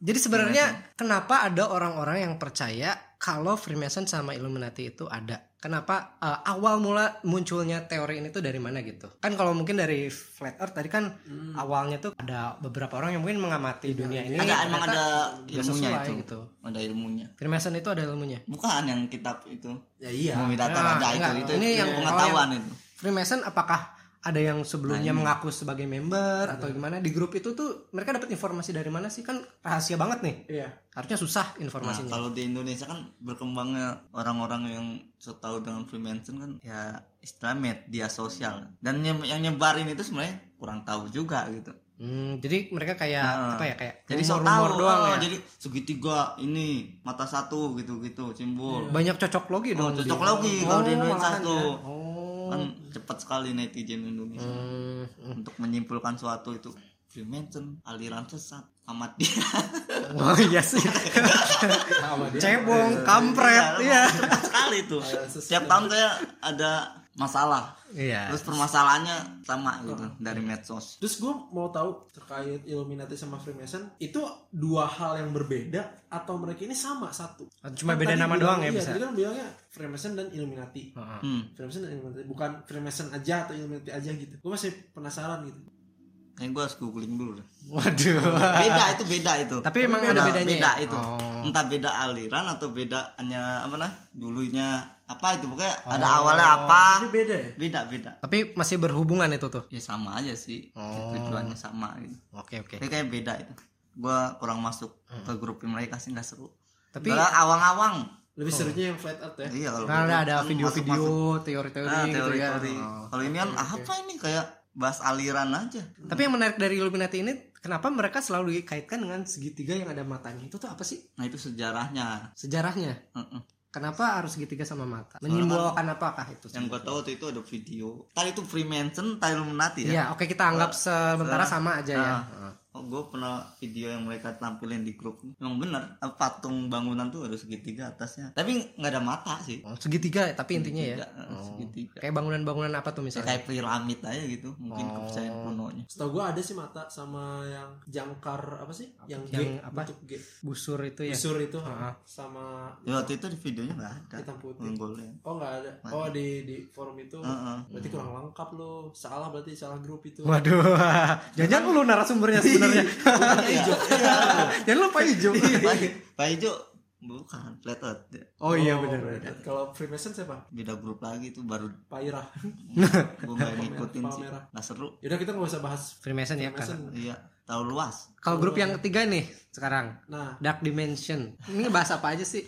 S1: Jadi sebenarnya kenapa ada orang-orang yang percaya kalau Freemason sama Illuminati itu ada? Kenapa eh, awal mula munculnya teori ini tuh dari mana gitu? Kan kalau mungkin dari flat earth tadi kan
S3: Hmm.
S1: awalnya tuh ada beberapa orang yang mungkin mengamati dunia ini.
S3: Ada Iya,
S1: Iya,
S3: emang
S1: ternyata
S3: ada
S1: nggak
S3: ilmunya
S1: sesuai
S3: itu.
S1: gitu.
S3: Ada ilmunya.
S1: Freemason itu ada ilmunya.
S3: Bukan yang kitab itu.
S2: ya iya.
S3: Mumi datar
S1: Nah,
S3: ada itu
S1: enggak.
S3: itu.
S1: Ini yang-
S3: pengetahuan itu.
S1: Freemason apakah ada yang sebelumnya
S3: Nah, Iya. ini.
S1: mengaku sebagai member atau gimana di grup itu tuh mereka dapat informasi dari mana sih kan rahasia banget nih
S2: Iya.
S1: harusnya susah
S3: Nah,
S1: informasinya
S3: kalau di Indonesia kan berkembangnya orang-orang yang setahu dengan Freemason kan ya istilah media sosial dan nye- yang nyebarin itu sebenarnya kurang tahu juga gitu.
S1: Hmm, jadi mereka kayak
S3: Nah,
S1: apa ya kayak
S3: Jadi so
S1: rumor-rumor
S3: tahu
S1: doang
S3: oh,
S1: ya
S3: Jadi segitiga ini mata satu gitu-gitu simbol.
S1: banyak cocok logi
S3: Oh,
S1: dong
S3: cocok
S1: di-
S3: lagi kalau di
S1: Iya. Oh,
S3: Indonesia
S1: malahan
S3: tuh.
S1: ya.
S3: [laughs]
S1: oh
S3: Kan cepat sekali netizen Indonesia
S1: Hmm, hmm.
S3: untuk menyimpulkan suatu itu Freemason aliran sesat amat dia.
S1: oh iya [laughs] sih cebong kampret
S3: [laughs]
S1: iya
S3: Cepat sekali tuh. Setiap tahun saya ada masalah
S1: iya
S3: terus permasalahannya sama
S1: Oh.
S3: gitu dari medsos
S2: Terus gue mau tahu terkait Illuminati sama Freemason itu dua hal yang berbeda atau mereka ini sama satu?
S1: cuma beda
S2: Tadi
S1: nama
S2: bilang-
S1: doang ya
S2: iya,
S1: bisa
S2: Tadi kan bilangnya Freemason dan Illuminati.
S1: Heeh.
S3: hmm.
S2: Freemason dan Illuminati bukan Freemason aja atau Illuminati aja gitu. Gue masih penasaran gitu.
S3: kayaknya gue harus googling dulu
S1: [laughs]
S3: deh.
S1: waduh
S3: [laughs] beda itu beda itu
S1: Tapi emang ada
S3: Nah,
S1: bedanya
S3: beda
S1: ya?
S3: itu
S1: Oh.
S3: entah beda aliran atau beda hanya apa nah dulunya apa itu pokoknya ada
S1: Oh.
S3: awalnya apa
S2: Tapi beda ya?
S3: beda beda
S1: tapi masih berhubungan itu tuh
S3: ya sama aja sih
S1: Oh.
S3: tujuannya sama gitu
S1: oke oke
S3: tapi kayak beda itu gue kurang masuk ke grup mereka sih nggak seru
S1: Hmm. tapi
S3: Padahal awang-awang
S1: Oh.
S2: Lebih serunya yang flat earth ya.
S3: iya kalau
S1: kan ada
S3: gitu kan masuk-masuk.
S1: video-video teori-teori
S3: Ah,
S1: gitu
S3: teori-teori
S1: ya Oh.
S3: kalau ini kan apa ini kayak bahas aliran aja
S1: tapi yang menarik dari Illuminati ini kenapa mereka selalu dikaitkan dengan segitiga yang ada matanya itu tuh apa sih
S3: nah itu sejarahnya
S1: sejarahnya
S3: Heeh.
S1: kenapa harus segitiga sama mata menyimbolkan apakah itu
S3: yang gue tahu waktu itu ada video tadi itu Freemason tadi Illuminati ya
S1: Iya, oke kita anggap sementara sama aja ya. Heeh.
S3: oh, gue pernah video yang mereka tampilin di grup emang bener eh, patung bangunan tuh ada segitiga atasnya tapi nggak ada mata sih
S1: Oh, segitiga tapi intinya ya.
S3: Nggak, eh, segitiga
S1: Kayak bangunan-bangunan apa tuh misalnya?
S3: kayak piramid aja gitu mungkin kepercayaan kunonya
S2: Setahu gue ada sih mata sama yang jangkar apa sih? yang G,
S1: Yang apa?
S2: bentuk G.
S1: Busur itu ya.
S2: Busur itu
S1: Ah.
S2: sama
S3: ya, waktu itu di videonya nggak ada
S2: hitam putih.
S3: unggulnya
S2: Oh nggak ada. Oh di di forum itu
S3: Heeh.
S2: berarti kurang lengkap lo. Salah berarti salah grup itu.
S1: Waduh, jangan lu narasumbernya sebenarnya. Jangan lu Pak Ijo.
S3: Pak Iya. [laughs] Pak Ijo bukan flat earth ya.
S1: Oh iya
S2: Oh,
S1: benar
S2: berarti. Kalau Freemason siapa?
S3: beda grup lagi tuh
S1: [laughs]
S3: baru
S2: Pairah.
S3: gue nggak ngikutin
S2: Kepala
S3: sih
S2: merah.
S3: nggak seru
S2: [laughs] Yaudah kita nggak usah bahas
S1: Freemason ya kan.
S2: Freemason.
S3: iya tahu luas
S1: Kalau grup yang ketiga nih sekarang
S2: Nah,
S1: Dark Dimension. Ini bahas apa aja sih?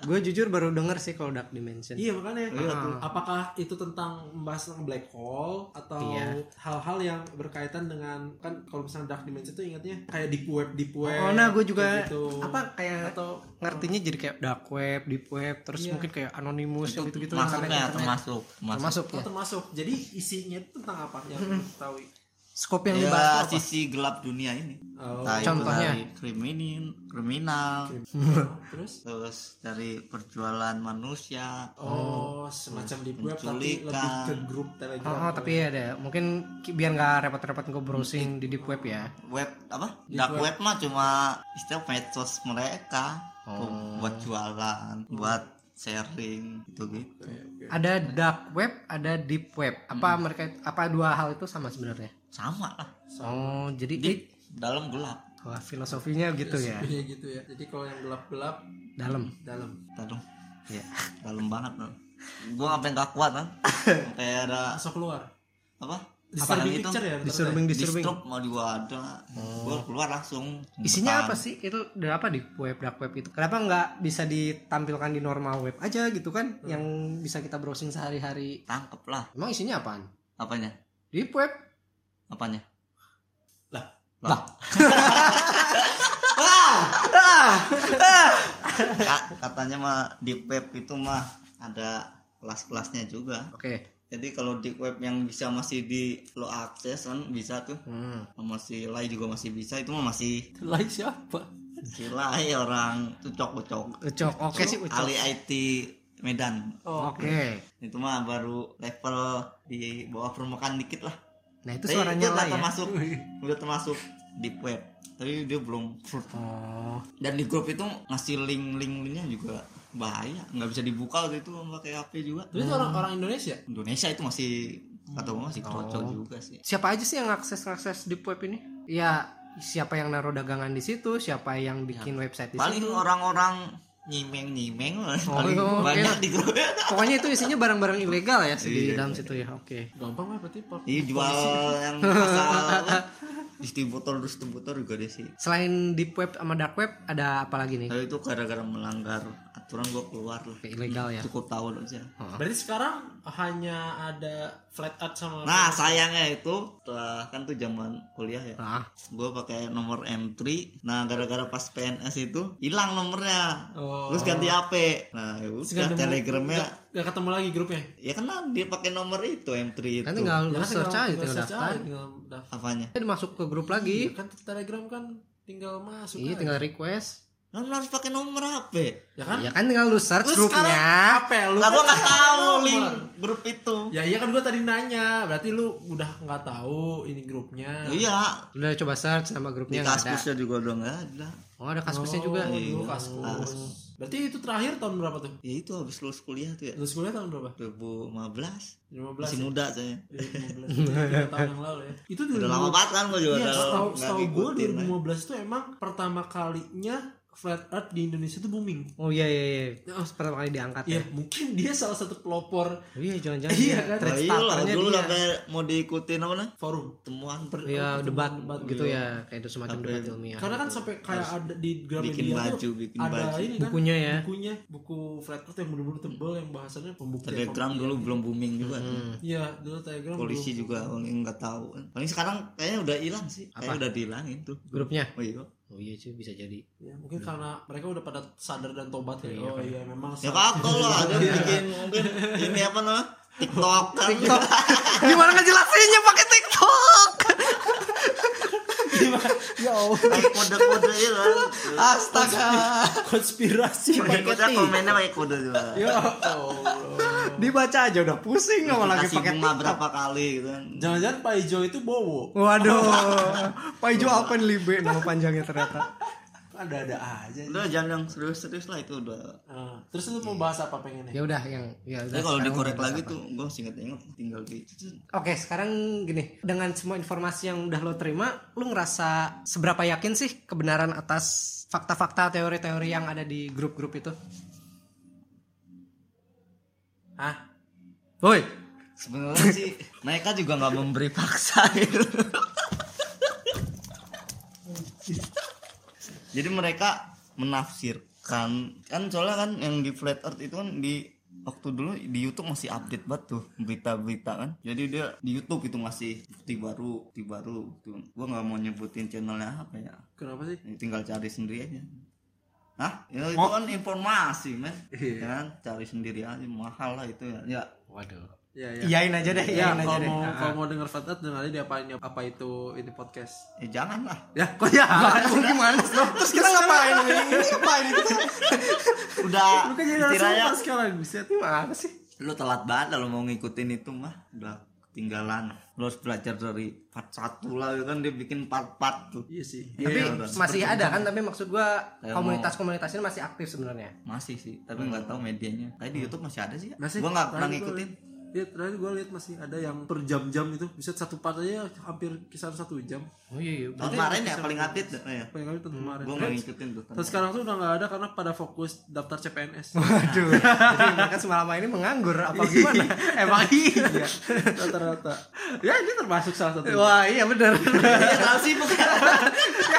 S1: Gue jujur baru denger sih kalau Dark Dimension.
S2: iya makanya. Apakah itu tentang membahas tentang black hole atau
S1: Iya.
S2: hal-hal yang berkaitan dengan kan kalau misalnya dark dimension itu ingatnya kayak deep web, deep web.
S1: Oh, nah gue juga
S2: kayak gitu.
S1: apa kayak
S2: atau
S1: ngertinya jadi kayak dark web, deep web, terus
S2: Iya.
S1: mungkin kayak anonimus yang gitu-gitu.
S3: masuknya
S1: internet, internet.
S3: termasuk termasuk
S1: Termasuk
S2: Oh,
S1: ya.
S2: termasuk. Jadi isinya itu tentang apa yang
S1: Hmm.
S2: diketahui?
S1: Skop yang
S2: Iya,
S1: dibahas tuh
S3: ya
S1: apa?
S3: sisi gelap dunia ini
S2: Oh,
S3: Entah itu
S1: Contohnya?
S3: dari kriminal kriminal
S2: [laughs] terus
S3: terus dari perjualan manusia
S1: Hmm.
S2: oh semacam deep web tapi
S3: Penculikan.
S2: lebih ke grup
S1: Oh,
S2: telegram.
S1: oh, tapi ada mungkin ki- biar nggak repot-repot gue browsing di deep web ya.
S3: web apa dark web mah cuma istilah medsos mereka
S1: Oh.
S3: buat jualan buat sharing gitu gitu
S1: Ada dark web, ada deep web. Apa
S2: Hmm.
S1: mereka apa dua hal itu sama sebenarnya?
S3: sama lah
S1: Oh, jadi eh,
S3: dalam gelap
S1: wah, filosofinya gitu ya.
S2: Iya gitu ya. Jadi kalau yang gelap-gelap
S1: Dalam.
S2: dalam.
S3: dalam
S2: Iya.
S1: Ya.
S3: dalam banget loh gue ngapain gak
S1: [laughs]
S3: kuat kan sampai ada
S2: Masuk keluar.
S3: apa
S2: Disturbing
S3: itu?
S2: picture ya. bentar
S1: Disturbing disturbing.
S3: Distrub mau diwadah gue keluar langsung
S1: Oh. Isinya apa sih? Itu dari apa di web dark web itu? Kenapa nggak bisa ditampilkan di normal web aja gitu kan? Yang bisa kita browsing sehari-hari.
S3: tangkep lah
S1: Emang isinya apaan?
S3: apanya
S1: Deep web.
S3: apanya
S2: Lah.
S3: lah
S1: Ah!
S3: Ka- katanya mah deep web itu mah ada kelas-kelasnya juga
S1: Oke.
S3: jadi kalau deep web yang bisa masih di lo akses kan bisa tuh
S1: Hmm.
S3: masih lay juga masih bisa itu mah masih
S2: deh. Like siapa?
S3: si lay orang cocok cocok
S1: Ucok. Oke sih ucok.
S3: ali IT Medan
S1: Oke.
S3: itu mah baru level di bawah permukaan dikit lah
S1: Nah itu
S3: Tapi
S1: suaranya
S3: udah
S1: lah ya.
S3: termasuk udah termasuk deep web tapi dia belum fruit
S1: Oh.
S3: dan di grup itu ngasih link link linknya juga bahaya nggak bisa dibuka waktu itu pakai HP juga
S2: Terus itu
S1: Hmm.
S2: orang-orang Indonesia.
S3: Indonesia itu masih kata gua masih cocok
S1: Oh.
S3: juga sih
S1: siapa aja sih yang akses akses deep web ini? Ya siapa yang naruh dagangan di situ, siapa yang bikin website di
S3: paling
S1: situ?
S3: orang-orang nyimeng nyimeng
S1: Oh,
S3: paling
S1: oke.
S3: banyak di grup
S1: Pokoknya itu isinya barang-barang ilegal ya di
S3: Iya.
S1: dalam situ ya. Oke.
S2: Gampang lah berarti Pak.
S3: Iya
S1: [laughs]
S3: jual yang asal distributor distributor juga deh sih.
S1: Selain deep web sama dark web ada apa lagi nih?
S3: Tapi itu gara-gara melanggar aturan gua keluar loh.
S1: Oke, Ilegal ya.
S3: Cukup tahun aja.
S2: Berarti sekarang hanya ada flat art sama
S3: Nah sayangnya itu setelah kan tuh zaman kuliah ya.
S1: Nah,
S3: Gua pakai nomor M3. Nah gara-gara pas PNS itu hilang nomornya.
S2: Oh.
S3: Terus ganti HP. Nah ya udah
S2: Sekarang
S3: telegramnya
S2: nggak- nggak ketemu lagi grupnya.
S3: ya kenapa dia pakai nomor itu M3 itu.
S1: kan tinggal lu
S2: kan
S1: search aja,
S2: tinggal
S1: tinggal
S2: search
S1: daftar.
S2: aja, tinggal daftar.
S3: Apanya?
S1: Dia masuk ke grup
S2: Iya,
S1: lagi.
S2: kan Telegram kan tinggal masuk.
S1: Iya,
S2: aja.
S1: tinggal request.
S3: Lah, Nah, lu harus pakai nomor HP.
S2: Ya kan?
S1: Ya kan tinggal lu search grupnya.
S2: apa ya, lu?
S3: Lah
S2: kan
S3: gua nggak tahu
S2: nomor.
S3: link grup itu.
S2: Ya iya kan gua tadi nanya, berarti lu udah nggak tahu ini grupnya.
S3: Iya,
S1: Lu Udah coba search sama
S3: di
S1: grupnya nggak ada.
S3: kaskusnya juga udah nggak ada
S1: Oh, ada kaskusnya juga.
S2: Oh, dulu
S3: Iya.
S2: kaskus.
S3: Kaskus.
S2: Berarti itu terakhir tahun berapa tuh?
S3: ya itu habis lulus kuliah tuh ya
S2: Lulus kuliah tahun berapa?
S3: 2015
S2: 15 Iya.
S3: masih
S2: ya?
S3: muda saya
S2: 15 tahun yang lalu ya. Itu
S3: udah lama banget kan gua juga
S2: Iya,
S3: udah
S2: setahu
S3: nggak
S2: setahu gue
S3: ngikutin, kan.
S2: 2015 itu emang pertama kalinya flat earth di Indonesia itu booming.
S1: Oh iya iya iya.
S2: Oh,
S1: Pertama kali diangkat ya.
S2: Iya, mungkin [laughs] dia salah satu pelopor
S1: Iya, jangan-jangan.
S2: Iya,
S1: dia
S2: kan?
S1: trade
S3: Nah, iya lah,
S1: starternya
S3: dulu
S1: dia.
S3: sampai mau diikutin apa nah
S2: forum.
S3: temuan iya. per
S1: Iya, debat,
S2: debat
S1: gitu ya, kayak itu semacam
S3: Sampai-
S1: debat ilmiah.
S2: Karena kan sampai kayak ya. ada di
S3: Ya, bikin
S2: Gramedia
S3: baju,
S2: tuh
S3: bikin
S2: ada
S3: baju.
S2: ini kan
S1: bukunya ya.
S2: bukunya buku flat earth yang bener-bener tebal yang bahasannya pembuktian.
S3: telegram dulu belum booming juga tuh.
S2: Iya, dulu telegram
S3: polisi
S2: belum.
S3: juga orang yang nggak tahu paling sekarang kayaknya udah hilang sih kayaknya udah dihilangin tuh
S1: Grupnya.
S3: oh iya
S1: Oh iya sih bisa jadi.
S2: Ya, mungkin karena mereka udah pada sadar dan tobat kayak oh iya memang
S3: ya
S2: salah."
S3: kakak lah ada yang bikin mungkin ini apa namanya tiktok kan
S1: [laughs]
S3: [laughs]
S1: Gimana ngejelasinnya pakai TikTok?
S4: Ya Allah.
S3: Kayak kode-kode ya kan
S4: Astaga.
S2: konspirasi.
S3: kita komennya pakai kode juga
S2: ya Allah.
S4: Dibaca aja udah pusing nggak
S1: iya,
S4: mau lagi
S3: kasih
S4: pakai.
S3: bunga berapa kali gitu kan
S2: Jangan-jangan Pak Ijo itu bowo.
S4: Waduh. Pak Ijo apa nih Libe nama panjangnya ternyata.
S2: Ada-ada aja.
S3: udah jangan yang serius-serius lah itu udah
S2: Nah, terus lu mau bahas apa pengennya?
S1: Ya udah yang ya udah.
S3: Tapi kalau
S1: sekarang
S3: dikorek
S1: udah
S3: lagi
S1: apa.
S3: tuh gue singkat ingat tinggal di
S1: Oke, sekarang gini, dengan semua informasi yang udah lo terima, lo ngerasa seberapa yakin sih kebenaran atas fakta-fakta teori-teori yang ada di grup-grup itu?
S2: Hah?
S1: Woi,
S3: sebenarnya sih mereka juga nggak memberi paksa [laughs] gitu. jadi mereka menafsirkan kan soalnya kan yang di flat earth itu kan di waktu dulu di YouTube masih update banget tuh berita-berita kan jadi dia di YouTube itu ngasih bukti baru bukti baru tuh gua nggak mau nyebutin channelnya apa ya
S2: Kenapa sih?
S3: Ya, tinggal cari sendiri aja Hah? Ya, itu kan informasi men
S2: Iya.
S3: Ya kan cari sendiri aja mahal lah itu ya, ya.
S1: waduh.
S2: Ya, ya.
S3: Iya,
S4: Iyain aja
S1: Iya,
S4: deh,
S2: Ya,
S4: iyain aja
S2: kalau
S4: deh.
S3: Ah.
S2: mau kalau mau denger fat earth dengerin dia apa apa itu ini podcast.
S3: Eh, jangan lah
S2: [laughs] Ya, kok ya?
S4: Gimana? Terus kita ngapain? Ini ngapain?
S3: udah
S2: Lu kan jadi
S3: istilahnya
S2: narasumber sekarang bisa
S1: Gimana sih?
S3: lu telat banget kalau mau ngikutin itu mah udah ketinggalan lu harus belajar dari part 1 lah ya kan dia bikin part-part tuh
S2: Iya sih.
S1: Tapi
S3: Iya, udah.
S1: masih ada kan, tapi maksud gua
S3: Kayak mau-
S1: komunitas-komunitas ini masih aktif sebenarnya.
S3: masih sih tapi nggak tahu medianya tadi di YouTube masih ada sih ya?
S2: Hmm. Masih.
S3: gua nggak pernah
S2: Terakhir gua
S3: ngikutin
S2: liat- Iya, terakhir gue lihat masih ada yang per jam-jam itu. Bisa satu part aja hampir kisaran satu jam.
S1: Oh iya,
S4: [laughs]
S1: iya.
S3: tahun kemarin ya paling update dah, ya
S2: Paling kali tahun kemarin.
S3: gua nggak ngikutin tuh
S2: Terus sekarang tuh udah nggak ada karena pada fokus daftar CPNS.
S3: Oh,
S1: Waduh, jadi mereka selama ini menganggur apa [laughs] gimana? Emang iya.
S2: [laughs] Rata-rata. ya, ini termasuk salah satu.
S4: Gitu.
S1: Wah iya bener.
S3: tahu sih bukan
S4: [laughs]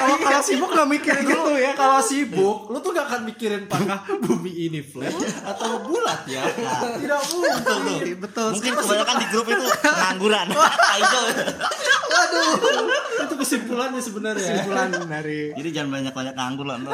S4: Kalau kalau sibuk nggak mikir gitu ya.
S2: kalau sibuk, lu tuh gak akan mikirin apakah bumi ini flat atau bulat ya. Tidak mungkin.
S3: tuh
S4: Betul.
S3: Mungkin kebanyakan di grup itu pengangguran. [laughs] Itu.
S2: Itu kesimpulannya sebenarnya.
S4: Kesimpulan dari
S3: Jadi jangan banyak-banyak nganggur lah. Bro.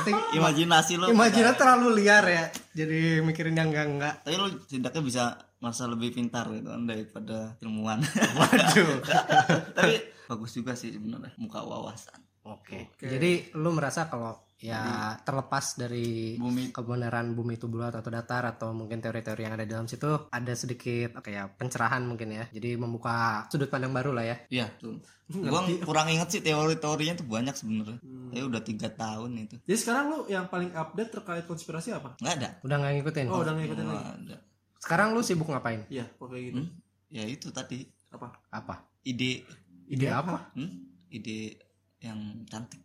S1: Penting
S3: Iya, Imajinasi lo.
S4: imajinasi terlalu liar ya. Jadi mikirin yang enggak enggak.
S3: Tapi lo setidaknya bisa merasa lebih pintar gitu kan daripada ilmuwan.
S4: Waduh.
S3: [laughs] Tapi bagus juga sih sebenarnya muka wawasan.
S1: Oke. Jadi lu merasa kalau ya terlepas dari
S3: Bumi.
S1: kebenaran bumi itu bulat atau datar atau mungkin teori-teori yang ada di dalam situ ada sedikit kayak pencerahan mungkin ya. Jadi membuka sudut pandang baru lah ya.
S3: Iya, tuh. Gua kurang inget sih teori-teorinya tuh banyak sebenarnya. Tapi udah tiga tahun itu.
S2: Jadi sekarang lu yang paling update terkait konspirasi apa?
S3: Nggak ada.
S1: Udah nggak ngikutin.
S2: Oh, udah ngikutin
S3: Nggak
S2: lagi.
S3: ada.
S1: Sekarang lu sibuk ngapain?
S2: Iya, pokoknya gitu.
S3: Hmm? Ya itu tadi
S2: Apa?
S1: Apa?
S3: ide
S1: Ide apa?
S3: hmm? ide yang cantik.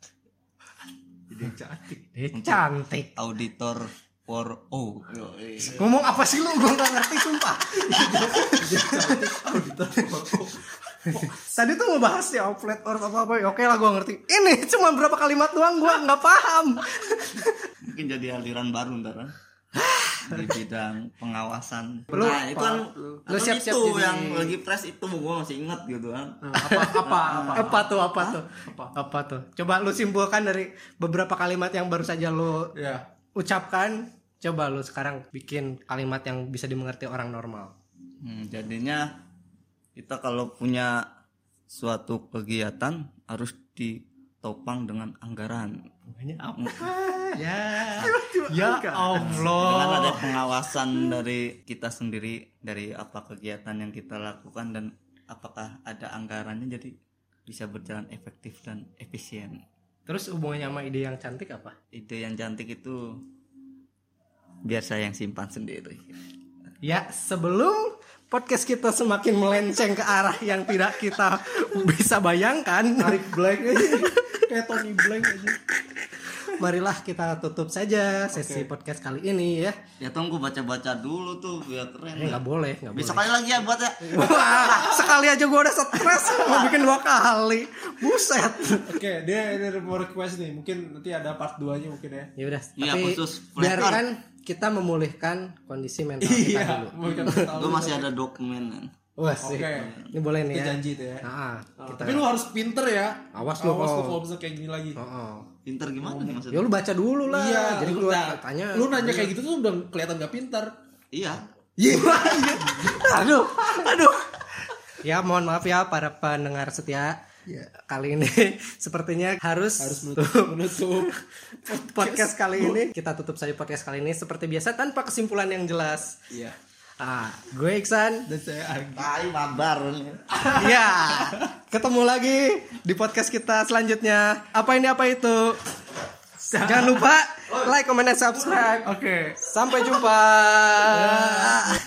S3: Jadi cantik.
S1: Dia cantik.
S3: Auditor for O.
S2: eh. [laughs]
S1: Ngomong apa sih lu? Gue gak ngerti sumpah.
S2: Ah, gitu.
S1: Tadi tuh ngebahas ya outlet or apa apa. Oke lah gue ngerti. Ini cuma berapa kalimat doang gue nggak paham.
S3: Mungkin jadi aliran baru ntar. ah. di bidang pengawasan.
S1: Lu-
S3: nah, itu kan
S1: Lu
S3: kan
S1: siap-siap jadi-
S3: itu
S1: Hmm.
S3: yang lagi press itu gua masih inget gitu kan.
S2: apa apa apa
S1: Apa tuh apa tuh? Apa? tuh? Coba lu simpulkan dari beberapa kalimat yang baru saja lu
S2: ya
S1: ucapkan. Coba lu sekarang bikin kalimat yang bisa dimengerti orang normal.
S3: Hmm, jadinya kita kalau punya suatu kegiatan harus ditopang dengan anggaran. Hmm.
S2: Eh.
S1: Ya.
S2: ya Allah
S3: Dengan ada pengawasan dari kita sendiri dari apa kegiatan yang kita lakukan dan apakah ada anggarannya jadi bisa berjalan efektif dan efisien.
S1: Terus hubungannya sama ide yang cantik apa?
S3: Ide yang cantik itu biar saya yang simpan sendiri.
S1: Ya, sebelum podcast kita semakin melenceng ke arah yang tidak kita bisa bayangkan,
S2: Rick Black aja kayak Tony Black aja
S1: marilah kita tutup saja sesi podcast kali ini ya.
S3: Ya tunggu baca-baca dulu tuh biar
S1: Eh,
S3: keren.
S2: Iya.
S3: ya.
S1: nggak boleh, nggak boleh.
S3: Besok kali lagi ya buat ya.
S1: Wah, sekali aja gue udah stres mau bikin dua kali. Buset.
S2: oke dia ini mau request nih mungkin nanti ada part 2 nya mungkin ya
S1: Ya udah,
S3: Iya,
S1: tapi
S3: khusus flash
S1: biarkan kita memulihkan kondisi mental
S2: Iya.
S1: kita dulu.
S2: mungkin tahu
S3: Gue masih ada dokumen. kan.
S1: Wah, sih.
S2: Oke.
S1: Ini boleh nih
S2: kita
S1: ya.
S2: janji itu ya
S1: Nah,
S2: Ah,
S1: kita.
S2: tapi lu harus pinter ya
S1: Awas lu,
S2: awas lu
S1: Paul.
S2: kalau bisa kayak gini lagi
S1: Oh, oh.
S3: Pinter gimana nih maksudnya?
S1: Ya lu baca dulu lah.
S2: iya
S1: Jadi
S2: lu,
S1: lu
S2: nah,
S1: tanya.
S2: lu nanya kayak gitu tuh udah kelihatan gak pintar
S3: Iya.
S1: Iya. aduh, aduh. Ya mohon maaf ya para pendengar setia. Kali ini [laughs] sepertinya Iya. harus,
S2: harus menutup menutup
S1: podcast kali ini kita tutup saja podcast kali ini seperti biasa tanpa kesimpulan yang jelas.
S2: iya
S1: Ah, gue [laughs] Iksan.
S2: dan saya Agi
S3: Tai mabar. nih.
S1: Iya. Ketemu lagi di podcast kita selanjutnya. Apa ini apa itu? [laughs] Jangan lupa like, comment, dan subscribe.
S2: oke
S1: Sampai jumpa.